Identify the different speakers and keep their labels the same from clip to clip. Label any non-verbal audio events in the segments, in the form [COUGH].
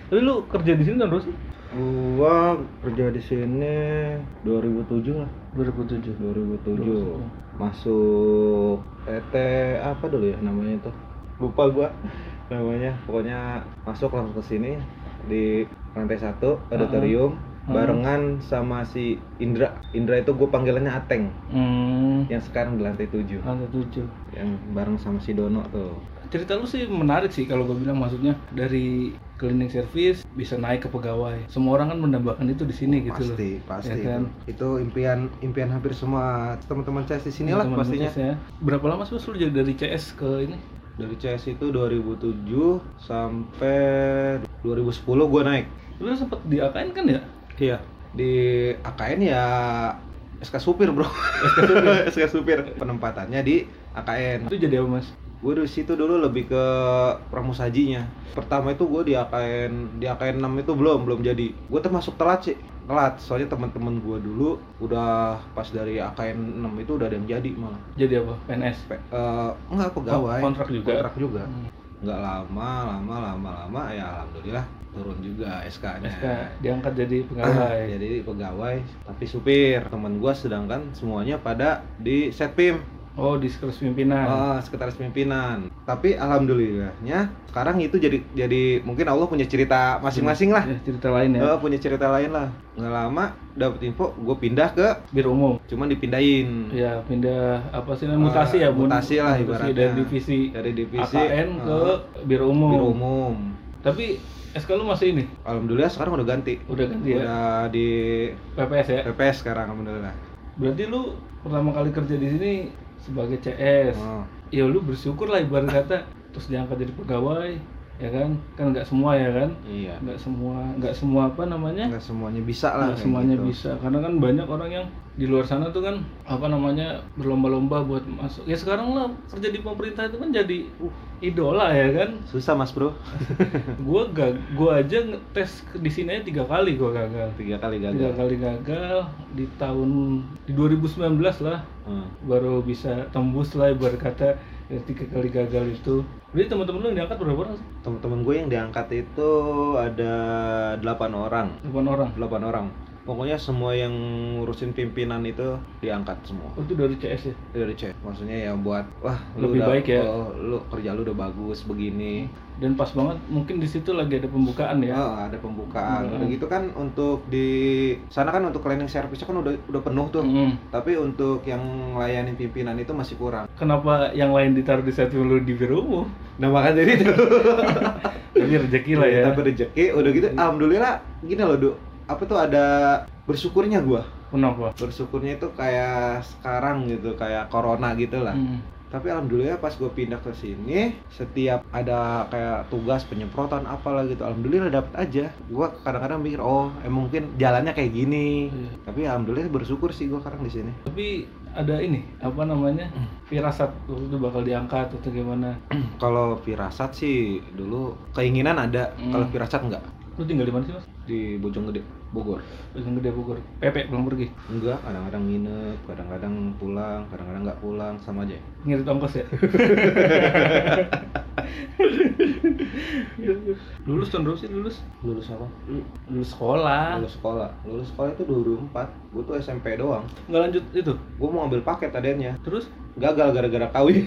Speaker 1: Tapi lu kerja di sini tahun berapa sih?
Speaker 2: Gua kerja di sini 2007 lah.
Speaker 1: 2007.
Speaker 2: 2007. Masuk PT apa dulu ya namanya itu? Lupa gua [LAUGHS] namanya. Pokoknya masuk langsung ke sini di lantai satu auditorium
Speaker 1: Ah.
Speaker 2: barengan sama si Indra. Indra itu gua panggilannya Ateng
Speaker 1: Hmm.
Speaker 2: yang sekarang di lantai 7
Speaker 1: Lantai 7.
Speaker 2: yang bareng sama si Dono tuh.
Speaker 1: Cerita lu sih menarik sih kalau gue bilang maksudnya dari cleaning service bisa naik ke pegawai. Semua orang kan mendambakan itu di sini gitu loh.
Speaker 2: pasti pasti
Speaker 1: Ya kan?
Speaker 2: itu impian impian hampir semua teman-teman CS di sini lah
Speaker 1: Teman-teman
Speaker 2: pastinya
Speaker 1: CS ya. Berapa lama sih Mas, lu jadi dari CS ke ini?
Speaker 2: dari CS itu 2007 sampai 2010 gua naik
Speaker 1: Lu sempet di AKN kan ya?
Speaker 2: iya di AKN ya SK supir bro SK [LAUGHS] supir, penempatannya di AKN
Speaker 1: Itu jadi apa mas?
Speaker 2: gue di situ dulu lebih ke pramusajinya pertama itu gue di AKN di AKN 6 itu belum belum jadi gue termasuk telat sih telat soalnya teman-teman gue dulu udah pas dari AKN 6 itu udah ada yang jadi malah
Speaker 1: Jadi apa? PNS?
Speaker 2: Pe- eh, enggak pegawai
Speaker 1: Kon- kontrak juga?
Speaker 2: kontrak juga
Speaker 1: Hmm.
Speaker 2: enggak lama lama lama lama ya alhamdulillah turun juga SK-nya
Speaker 1: SK diangkat jadi pegawai.
Speaker 2: [CLEARS THROAT] jadi pegawai tapi supir temen gua sedangkan semuanya pada di setpim
Speaker 1: Oh di sekretaris pimpinan.
Speaker 2: eh, sekretaris pimpinan tapi alhamdulillahnya sekarang itu jadi jadi mungkin Allah punya cerita masing-masing lah
Speaker 1: Ya, cerita lain ya.
Speaker 2: Eh, punya cerita lain lah nggak lama dapet info gue pindah ke
Speaker 1: Biro umum.
Speaker 2: cuman dipindahin
Speaker 1: Ya pindah apa sih namanya mutasi
Speaker 2: Eh,
Speaker 1: ya bun?
Speaker 2: mutasi lah
Speaker 1: Mutasi
Speaker 2: ibaratnya
Speaker 1: dari divisi
Speaker 2: dari divisi eh,
Speaker 1: AKN ke biro umum.
Speaker 2: ya. biro umum
Speaker 1: Tapi SK lu masih ini
Speaker 2: Alhamdulillah sekarang udah ganti.
Speaker 1: udah ganti ya
Speaker 2: Udah di
Speaker 1: PPS ya.
Speaker 2: PPS sekarang alhamdulillah.
Speaker 1: Berarti lu pertama kali kerja di sini sebagai CS.
Speaker 2: Oh.
Speaker 1: Ya lu bersyukur lah ibarat kata terus diangkat jadi pegawai ya kan kan nggak semua ya kan
Speaker 2: Iya.
Speaker 1: nggak semua nggak semua apa namanya
Speaker 2: Enggak semuanya bisa lah.
Speaker 1: Eh? Nggak
Speaker 2: kayak
Speaker 1: semuanya
Speaker 2: gitu.
Speaker 1: bisa karena kan banyak orang yang di luar sana tuh kan apa namanya berlomba-lomba buat masuk ya sekarang lah kerja di pemerintah itu kan jadi uh, idola ya kan
Speaker 2: Susah Mas, Bro.
Speaker 1: gue gak gue aja tes di sini aja tiga kali gue gagal
Speaker 2: Tiga kali
Speaker 1: tiga
Speaker 2: gagal.
Speaker 1: kali gagal di tahun di 2019 lah
Speaker 2: Hmm.
Speaker 1: baru bisa tembus lah ibarat kata dari tiga kali gagal itu jadi teman-teman lu yang diangkat berapa orang sih?
Speaker 2: Teman-teman gue yang diangkat itu ada delapan orang.
Speaker 1: delapan orang
Speaker 2: Delapan orang. Pokoknya semua yang ngurusin pimpinan itu diangkat semua.
Speaker 1: Oh, itu dari CS ya
Speaker 2: Dari cek. Maksudnya ya buat wah
Speaker 1: Lebih
Speaker 2: udah-
Speaker 1: baik ya.
Speaker 2: oh, lu kerja lu udah bagus begini.
Speaker 1: dan pas banget mungkin di situ lagi ada pembukaan ya
Speaker 2: Oh, ada pembukaan.
Speaker 1: Hmm.
Speaker 2: Udah gitu kan untuk di sana kan untuk cleaning service kan udah udah penuh tuh.
Speaker 1: Mm.
Speaker 2: Tapi untuk yang ngelayanin pimpinan itu masih kurang.
Speaker 1: kenapa yang lain ditaruh di satu lu di biro umum
Speaker 2: Nah, makanya jadi itu.
Speaker 1: tapi
Speaker 2: [LAUGHS]
Speaker 1: rezeki lah ya
Speaker 2: Tapi rezeki udah gitu alhamdulillah gini loh, Du. Apa tuh ada bersyukurnya gua.
Speaker 1: kenapa
Speaker 2: Bersyukurnya itu kayak sekarang gitu, kayak corona gitu lah.
Speaker 1: Hmm.
Speaker 2: Tapi alhamdulillah pas gua pindah ke sini, setiap ada kayak tugas penyemprotan apalah gitu, alhamdulillah dapat aja. Gua kadang-kadang mikir, oh, emang mungkin jalannya kayak gini.
Speaker 1: Iya.
Speaker 2: Tapi alhamdulillah bersyukur sih gua sekarang di sini.
Speaker 1: tapi ada ini apa namanya
Speaker 2: Mm.
Speaker 1: firasat waktu itu bakal diangkat atau gimana
Speaker 2: Kalau firasat sih dulu keinginan ada,
Speaker 1: Hmm.
Speaker 2: kalau firasat enggak.
Speaker 1: lu tinggal di mana sih mas
Speaker 2: di Bojonggede, Bogor.
Speaker 1: Ujung Gede Bogor Pepe belum pergi
Speaker 2: Enggak, kadang-kadang nginep, kadang-kadang pulang, kadang-kadang nggak pulang, sama aja.
Speaker 1: ngirit ongkos ya [LAUGHS] lulus tahun berapa sih lulus
Speaker 2: Lulus apa?
Speaker 1: lulus sekolah
Speaker 2: Lulus sekolah. Lulus sekolah itu 2004. Gue tuh SMP doang.
Speaker 1: nggak lanjut itu
Speaker 2: Gue mau ambil paket adanya.
Speaker 1: terus
Speaker 2: Gagal gara-gara kawin.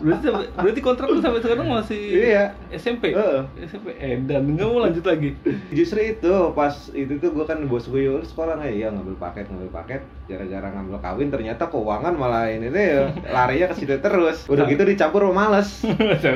Speaker 1: berarti sampai- berarti kontrak lu sampai [LAUGHS] sekarang masih
Speaker 2: iya.
Speaker 1: SMP
Speaker 2: Heeh.
Speaker 1: SMP Edan nggak mau lanjut [LAUGHS] lagi
Speaker 2: Justru itu pas itu tuh gue kan bos gue "Ya, lu sekolah nggak ya ngambil paket ngambil paket gara-gara ngambil kawin ternyata keuangan malah ini tuh ya, larinya ke situ terus udah gitu dicampur sama males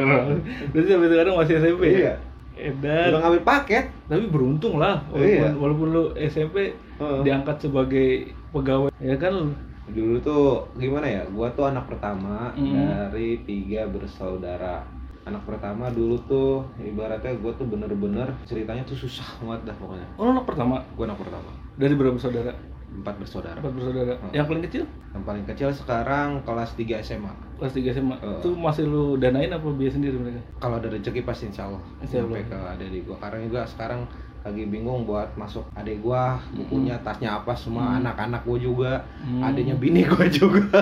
Speaker 1: Berarti sampai sekarang masih SMP ya?
Speaker 2: Iya.
Speaker 1: Edan.
Speaker 2: udah ngambil paket
Speaker 1: Tapi beruntung lah walaupun,
Speaker 2: Iya.
Speaker 1: walaupun lu SMP
Speaker 2: Heeh.
Speaker 1: diangkat sebagai pegawai ya kan lu.
Speaker 2: dulu tuh gimana ya gua tuh anak pertama
Speaker 1: Mm.
Speaker 2: dari tiga bersaudara anak pertama dulu tuh ibaratnya gua tuh bener-bener ceritanya tuh susah banget dah pokoknya
Speaker 1: Oh, lu anak pertama
Speaker 2: gua anak pertama
Speaker 1: dari berapa saudara?
Speaker 2: empat bersaudara
Speaker 1: Empat bersaudara.
Speaker 2: Heeh.
Speaker 1: Yang paling kecil
Speaker 2: yang paling kecil sekarang kelas 3 SMA
Speaker 1: kelas 3 SMA.
Speaker 2: Heeh.
Speaker 1: Itu masih lu danain apa biaya sendiri mereka?
Speaker 2: kalau ada rezeki pasti insya Allah
Speaker 1: Insya
Speaker 2: sampai ke adik gua karena juga sekarang lagi bingung buat masuk adik gua bukunya tasnya apa semua
Speaker 1: Mm.
Speaker 2: anak-anak gua juga
Speaker 1: Hmm.
Speaker 2: adiknya bini [LAUGHS] gua juga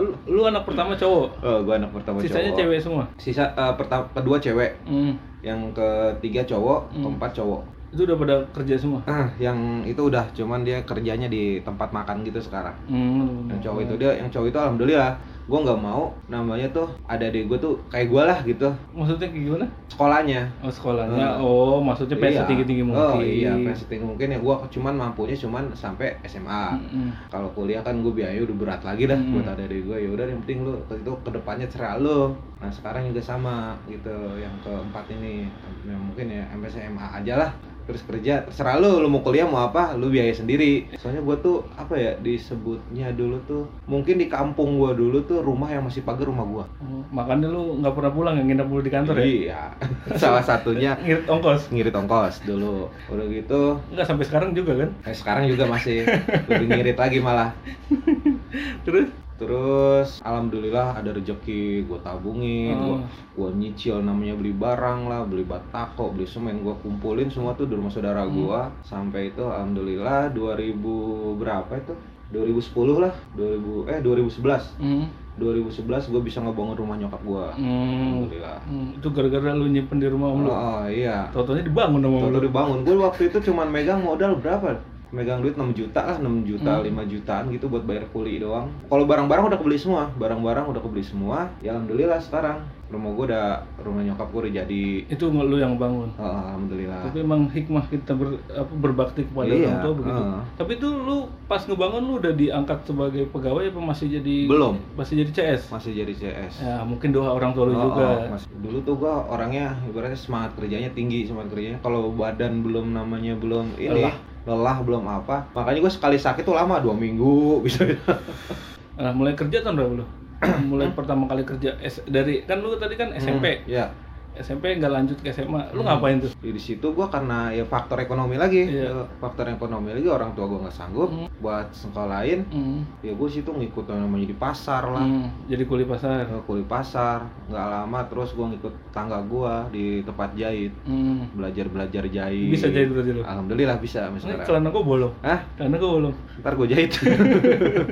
Speaker 1: Lu, lu anak pertama cowok.
Speaker 2: Eh, gua anak pertama
Speaker 1: Sisanya
Speaker 2: cowok.
Speaker 1: cewek semua.
Speaker 2: sisa eh, pertama kedua cewek
Speaker 1: Hmm.
Speaker 2: yang ketiga cowok
Speaker 1: Hmm.
Speaker 2: keempat cowok
Speaker 1: Itu udah pada kerja semua.
Speaker 2: ah yang itu udah cuman dia kerjanya di tempat makan gitu sekarang
Speaker 1: Hmm.
Speaker 2: yang cowok itu dia yang cowok itu alhamdulillah gue nggak mau namanya tuh ada di gue tuh kayak gue lah gitu
Speaker 1: Maksudnya kayak gimana?
Speaker 2: sekolahnya
Speaker 1: Oh sekolahnya,
Speaker 2: Eh.
Speaker 1: oh maksudnya pengen
Speaker 2: Iya.
Speaker 1: setinggi-tinggi mungkin.
Speaker 2: oh iya pengen setinggi mungkin ya gue cuman mampunya cuman sampai SMA
Speaker 1: Mm-mm.
Speaker 2: kalau kuliah kan gue biaya udah berat lagi dah
Speaker 1: Hmm.
Speaker 2: buat ada dari gue ya udah yang penting lu itu kedepannya cerah lu nah sekarang juga sama gitu yang keempat ini ya, mungkin ya MPSMA aja lah terus kerja terserah lu lu mau kuliah mau apa lu biaya sendiri soalnya gue tuh apa ya disebutnya dulu tuh mungkin di kampung gue dulu tuh rumah yang masih pagar rumah gue
Speaker 1: Oh, makanya lu nggak pernah pulang ya nginep dulu di kantor ya?
Speaker 2: iya [LAUGHS] salah satunya
Speaker 1: Ngirit ongkos.
Speaker 2: ngirit ongkos dulu udah gitu
Speaker 1: Enggak sampai sekarang juga kan?
Speaker 2: eh, sekarang juga masih lebih ngirit lagi malah
Speaker 1: Terus
Speaker 2: Terus alhamdulillah ada rezeki gue tabungin, gue
Speaker 1: Oh.
Speaker 2: gua nyicil namanya beli barang lah, beli batako, beli semen, gue kumpulin semua tuh di rumah
Speaker 1: Hmm.
Speaker 2: saudara gua sampai itu alhamdulillah 2000 berapa itu? 2010 lah, 2000 eh 2011.
Speaker 1: Hmm.
Speaker 2: 2011 gue bisa ngebangun rumah nyokap gua.
Speaker 1: Hmm.
Speaker 2: Alhamdulillah.
Speaker 1: Hmm, Itu gara-gara lu nyimpen di rumah om lu.
Speaker 2: Iya. Oh, oh, iya.
Speaker 1: Totonya dibangun sama om
Speaker 2: Waktu
Speaker 1: lu.
Speaker 2: dibangun, gue waktu itu cuman megang modal berapa? Megang duit 6 juta lah, 6
Speaker 1: Hmm.
Speaker 2: juta, 5 jutaan gitu buat bayar kuli doang. Kalau barang-barang udah kebeli semua, barang-barang udah kebeli semua. Ya alhamdulillah sekarang rumah gue udah rumah nyokap gue udah jadi.
Speaker 1: Itu lu yang bangun.
Speaker 2: Oh, alhamdulillah.
Speaker 1: Tapi emang hikmah kita ber- apa, berbakti kepada
Speaker 2: Iya,
Speaker 1: orang tua begitu.
Speaker 2: heeh.
Speaker 1: Tapi itu lu pas ngebangun lu udah diangkat sebagai pegawai apa masih jadi
Speaker 2: Belum.
Speaker 1: Masih jadi CS?
Speaker 2: Masih jadi CS.
Speaker 1: Ya, mungkin doa orang tua lu
Speaker 2: Oh,
Speaker 1: juga.
Speaker 2: oh, Mas. Dulu tuh gue orangnya ibaratnya semangat kerjanya tinggi, semangat kerjanya. Kalau badan belum namanya belum ini,
Speaker 1: Lelah.
Speaker 2: lelah, belum apa. Makanya gue sekali sakit tuh lama dua minggu [LAUGHS] bisa.
Speaker 1: Nah, mulai kerja tahun berapa lu?
Speaker 2: [CLEARS THROAT]
Speaker 1: mulai pertama kali kerja S- dari kan lu tadi kan SMP.
Speaker 2: Hmm, ya.
Speaker 1: SMP nggak lanjut ke SMA. Lu ngapain tuh?
Speaker 2: di situ gua karena ya faktor ekonomi lagi
Speaker 1: Iya.
Speaker 2: Eh, faktor ekonomi lagi orang tua gua nggak sanggup
Speaker 1: Hmm.
Speaker 2: buat sekolahin
Speaker 1: Hmm.
Speaker 2: ya gue situ ngikut yang namanya di pasar lah Ya,
Speaker 1: Hmm, jadi kuli pasar.
Speaker 2: Gua kuliah pasar nggak lama terus gua ngikut tangga gua di tempat jahit
Speaker 1: Hmm.
Speaker 2: belajar belajar jahit
Speaker 1: Bisa jahit berarti lu.
Speaker 2: alhamdulillah bisa sama
Speaker 1: Ini
Speaker 2: sekarang
Speaker 1: celana gua bolong.
Speaker 2: Hah?
Speaker 1: Celana gua bolong.
Speaker 2: ntar gua jahit [LAUGHS]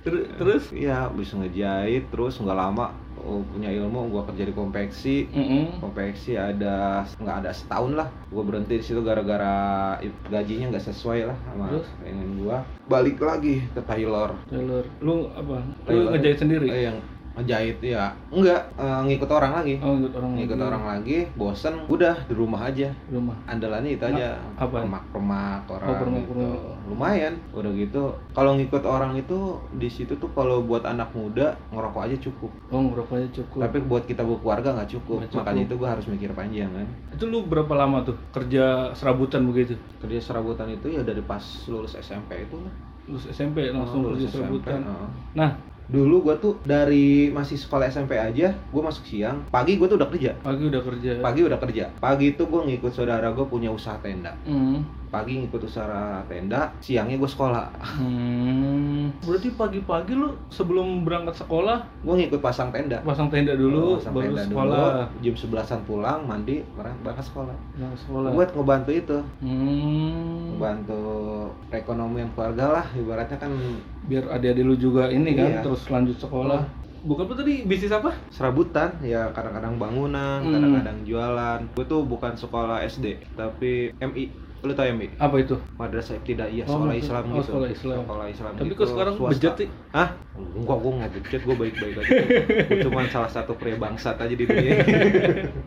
Speaker 1: Ter- terus
Speaker 2: iya bisa ngejahit terus nggak lama oh, punya ilmu gua kerja di konveksi
Speaker 1: Mm-mm.
Speaker 2: konveksi ada nggak ada setahun lah gue berhenti di situ gara-gara gajinya nggak sesuai lah sama
Speaker 1: Terus?
Speaker 2: pengen gue balik lagi ke Taylor
Speaker 1: Taylor, lu apa? Lu
Speaker 2: Taylor.
Speaker 1: ngejahit sendiri?
Speaker 2: eh, yang ngejahit ya enggak eh, ngikut orang lagi
Speaker 1: Oh, ngikut orang
Speaker 2: ngikut
Speaker 1: lagi.
Speaker 2: orang lagi bosen udah di rumah aja
Speaker 1: rumah.
Speaker 2: andalannya itu
Speaker 1: Nah,
Speaker 2: aja
Speaker 1: apa?
Speaker 2: permak-permak orang
Speaker 1: Oh, permak-permak.
Speaker 2: gitu. lumayan udah gitu kalau ngikut orang itu di situ tuh kalau buat anak muda ngerokok aja cukup
Speaker 1: Oh, ngerokoknya cukup.
Speaker 2: tapi buat kita berkeluarga nggak cukup.
Speaker 1: Nggak cukup.
Speaker 2: makanya itu gue harus mikir panjang kan
Speaker 1: itu lu berapa lama tuh kerja serabutan begitu?
Speaker 2: kerja serabutan itu ya dari pas lulus SMP itu lah.
Speaker 1: Lulus SMP langsung
Speaker 2: Oh,
Speaker 1: kerja
Speaker 2: lulus SMP,
Speaker 1: serabutan.
Speaker 2: heeh.
Speaker 1: Nah,
Speaker 2: dulu gue tuh dari masih sekolah SMP aja gue masuk siang pagi gue tuh udah kerja
Speaker 1: pagi udah kerja.
Speaker 2: pagi udah kerja pagi itu gue ngikut saudara gue punya usaha tenda
Speaker 1: Hmm.
Speaker 2: pagi ngikut usaha tenda siangnya gue sekolah
Speaker 1: Hmm. Berarti pagi-pagi lu sebelum berangkat sekolah
Speaker 2: gue ngikut pasang tenda
Speaker 1: pasang tenda dulu
Speaker 2: Oh, Pasang
Speaker 1: baru
Speaker 2: tenda
Speaker 1: sekolah.
Speaker 2: dulu, jam sebelasan pulang mandi barang berangkat sekolah
Speaker 1: Nah, sekolah.
Speaker 2: buat ngebantu itu
Speaker 1: Hmm.
Speaker 2: ngebantu perekonomian keluarga lah ibaratnya kan
Speaker 1: Biar adik-adik lu juga ini kan
Speaker 2: Iya.
Speaker 1: terus lanjut sekolah. Bukan apa tadi bisnis apa?
Speaker 2: serabutan ya kadang-kadang bangunan
Speaker 1: Hmm.
Speaker 2: kadang-kadang jualan gue tuh bukan sekolah SD tapi MI lu tau MI
Speaker 1: Apa itu?
Speaker 2: Madrasah Ibtidaiyah
Speaker 1: Oh,
Speaker 2: sekolah
Speaker 1: maksud-
Speaker 2: Islam
Speaker 1: oh,
Speaker 2: gitu
Speaker 1: sekolah Islam.
Speaker 2: sekolah Islam
Speaker 1: Tapi
Speaker 2: gitu,
Speaker 1: kok sekarang
Speaker 2: swasta.
Speaker 1: bejat ya? sih?
Speaker 2: Hah? Enggak, gue nggak bejat, gue baik-baik aja
Speaker 1: [LAUGHS]
Speaker 2: Gue cuman salah satu pria bangsat aja di dunia ini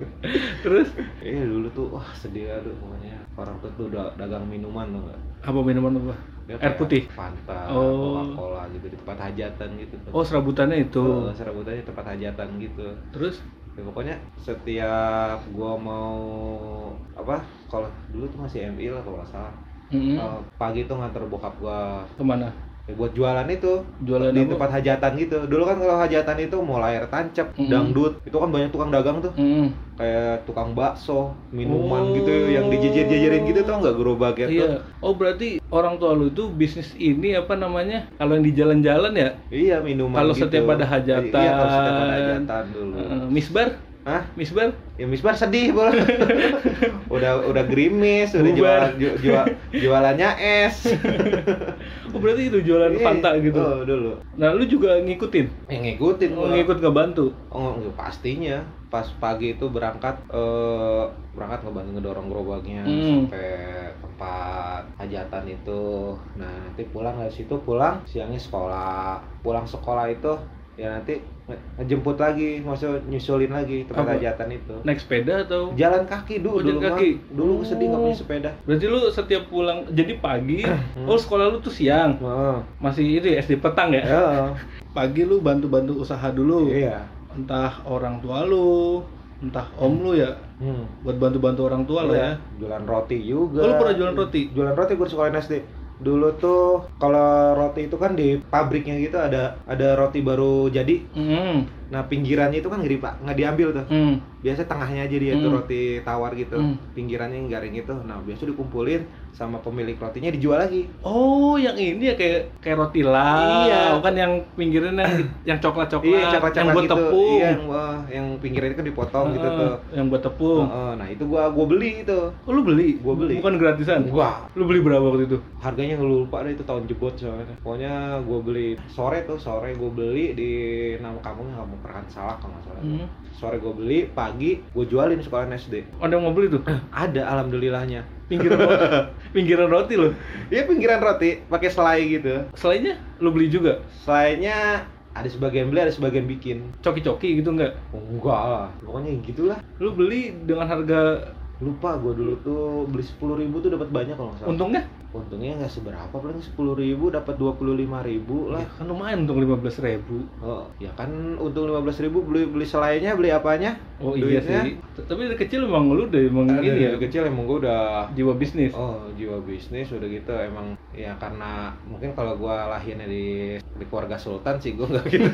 Speaker 1: Terus
Speaker 2: Iya dulu tuh, wah sedih lah tuh pokoknya Orang tuh tuh da- dagang minuman tuh nggak?
Speaker 1: apa minuman apa?
Speaker 2: Dia
Speaker 1: Air
Speaker 2: kayak
Speaker 1: putih.
Speaker 2: Fanta,
Speaker 1: Oh.
Speaker 2: Coca-Cola gitu, di tempat hajatan gitu Eh,
Speaker 1: Oh, serabutannya
Speaker 2: tuh
Speaker 1: itu.
Speaker 2: serabutannya tempat hajatan gitu
Speaker 1: Terus
Speaker 2: ya pokoknya setiap gua mau apa kalau dulu tuh masih MI lah kalau nggak salah
Speaker 1: Mm-mm.
Speaker 2: Eh, pagi tuh nganter bokap gua
Speaker 1: Hmm. kemana?
Speaker 2: ya buat jualan itu
Speaker 1: Jualan
Speaker 2: di
Speaker 1: apa?
Speaker 2: tempat hajatan gitu dulu kan kalau hajatan itu mau layar tancap
Speaker 1: Mm-mm.
Speaker 2: dangdut itu kan banyak tukang dagang tuh
Speaker 1: Mm-mm.
Speaker 2: kayak tukang bakso
Speaker 1: Oh.
Speaker 2: minuman gitu yang dijejer-jejerin gitu tau nggak gerobak gitu
Speaker 1: Iya. Oh berarti orang tua lu itu bisnis ini apa namanya? Kalau yang di jalan-jalan ya,
Speaker 2: iya minuman
Speaker 1: Kalau
Speaker 2: gitu.
Speaker 1: setiap ada hajatan.
Speaker 2: iya kalau setiap ada hajatan dulu
Speaker 1: eh, misbar.
Speaker 2: Hah?
Speaker 1: Misbal?
Speaker 2: Ya Misbar sedih
Speaker 1: [LAUGHS]
Speaker 2: bol. udah udah gerimis, udah jual,
Speaker 1: Bubar.
Speaker 2: ju- jual- jualannya es.
Speaker 1: Oh berarti itu jualan
Speaker 2: Iya.
Speaker 1: Fanta gitu.
Speaker 2: Oh, dulu.
Speaker 1: Nah lu juga ngikutin?
Speaker 2: Yang ngikutin
Speaker 1: Oh,
Speaker 2: gua.
Speaker 1: ngikut ngebantu?
Speaker 2: Oh, nggak, pastinya pas pagi itu berangkat eh berangkat ngebantu ngedorong gerobaknya
Speaker 1: Hmm.
Speaker 2: sampai tempat hajatan itu. Nah, nanti pulang dari situ pulang siangnya sekolah. Pulang sekolah itu ya nanti nge- ngejemput lagi, maksudnya nyusulin lagi tempat
Speaker 1: Apa?
Speaker 2: hajatan itu.
Speaker 1: Naik sepeda atau?
Speaker 2: Jalan kaki dulu,
Speaker 1: Oh, jalan
Speaker 2: dulu mah.
Speaker 1: kaki.
Speaker 2: Dulu gua sedih nggak punya
Speaker 1: Oh.
Speaker 2: sepeda.
Speaker 1: Berarti lu setiap pulang, jadi [CLEARS THROAT] pagi, oh sekolah lu tuh siang,
Speaker 2: Heeh.
Speaker 1: masih itu ya SD petang ya?
Speaker 2: Heeh.
Speaker 1: Pagi lu bantu-bantu usaha dulu,
Speaker 2: Iya.
Speaker 1: entah orang tua lu, entah om lu ya,
Speaker 2: Hmm.
Speaker 1: buat bantu-bantu orang tua lo ya.
Speaker 2: Iya, Jualan roti juga.
Speaker 1: Oh, lu pernah jualan roti?
Speaker 2: Jualan roti gue di sekolah SD. Dulu tuh kalau roti itu kan di pabriknya gitu ada ada roti baru jadi.
Speaker 1: Hmm,
Speaker 2: Nah pinggirannya itu kan nggak dipa- nggak diambil tuh.
Speaker 1: hmm,
Speaker 2: Biasanya tengahnya aja dia itu
Speaker 1: Hmm.
Speaker 2: roti tawar gitu.
Speaker 1: Hmm.
Speaker 2: Pinggirannya yang garing itu. Nah biasa dikumpulin sama pemilik rotinya dijual lagi.
Speaker 1: Oh, yang ini ya kayak kayak roti lah.
Speaker 2: Iya.
Speaker 1: Bukan yang pinggiran yang
Speaker 2: [CLEARS THROAT]
Speaker 1: yang coklat-coklat, yang
Speaker 2: coklat-coklat
Speaker 1: buat
Speaker 2: gitu.
Speaker 1: tepung.
Speaker 2: Iya, yang, wah, yang pinggirannya kan dipotong gitu
Speaker 1: Heeh,
Speaker 2: tuh.
Speaker 1: Yang buat tepung.
Speaker 2: Heeh, nah itu gua gua beli itu.
Speaker 1: Oh, lu beli?
Speaker 2: Gua beli.
Speaker 1: Bukan gratisan.
Speaker 2: Wah,
Speaker 1: Lu beli berapa waktu itu?
Speaker 2: harganya nggak lupa deh itu tahun jebot soalnya pokoknya gue beli sore tuh sore gue beli di nama kampungnya kampung perkan salah kalau nggak salah
Speaker 1: Hmm.
Speaker 2: sore gue beli pagi gue jualin di sekolahan SD
Speaker 1: Ada yang mau beli
Speaker 2: [CLEARS THROAT]
Speaker 1: tuh?
Speaker 2: ada alhamdulillahnya
Speaker 1: Pinggiran roti. pinggiran roti lo.
Speaker 2: ya pinggiran roti pakai selai gitu
Speaker 1: Selainnya lu beli juga?
Speaker 2: selainya ada sebagian beli ada sebagian bikin
Speaker 1: Coki-coki gitu enggak?
Speaker 2: oh, enggak lah pokoknya gitulah
Speaker 1: Lu beli dengan harga
Speaker 2: lupa gue dulu tuh beli sepuluh ribu tuh dapat banyak kalau nggak salah
Speaker 1: untungnya?
Speaker 2: untungnya nggak seberapa paling sepuluh ribu dapat dua puluh lima ribu lah
Speaker 1: Ya, kan lumayan untung 15.000 ribu.
Speaker 2: Oh, ya kan untung 15.000 beli beli selainya, beli apanya?
Speaker 1: Oh iya
Speaker 2: Duitnya?
Speaker 1: sih. T- Tapi dari kecil emang lu udah emang
Speaker 2: Nah,
Speaker 1: ini
Speaker 2: dari
Speaker 1: ya
Speaker 2: kecil emang gua udah
Speaker 1: jiwa bisnis.
Speaker 2: oh jiwa bisnis udah gitu emang ya karena mungkin kalau gua lahirnya di di keluarga sultan sih gua nggak gitu.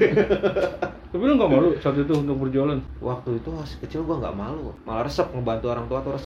Speaker 1: Tapi lu nggak malu saat itu untuk berjualan?
Speaker 2: Waktu itu masih kecil gua nggak malu, malah resep ngebantu orang tua tuh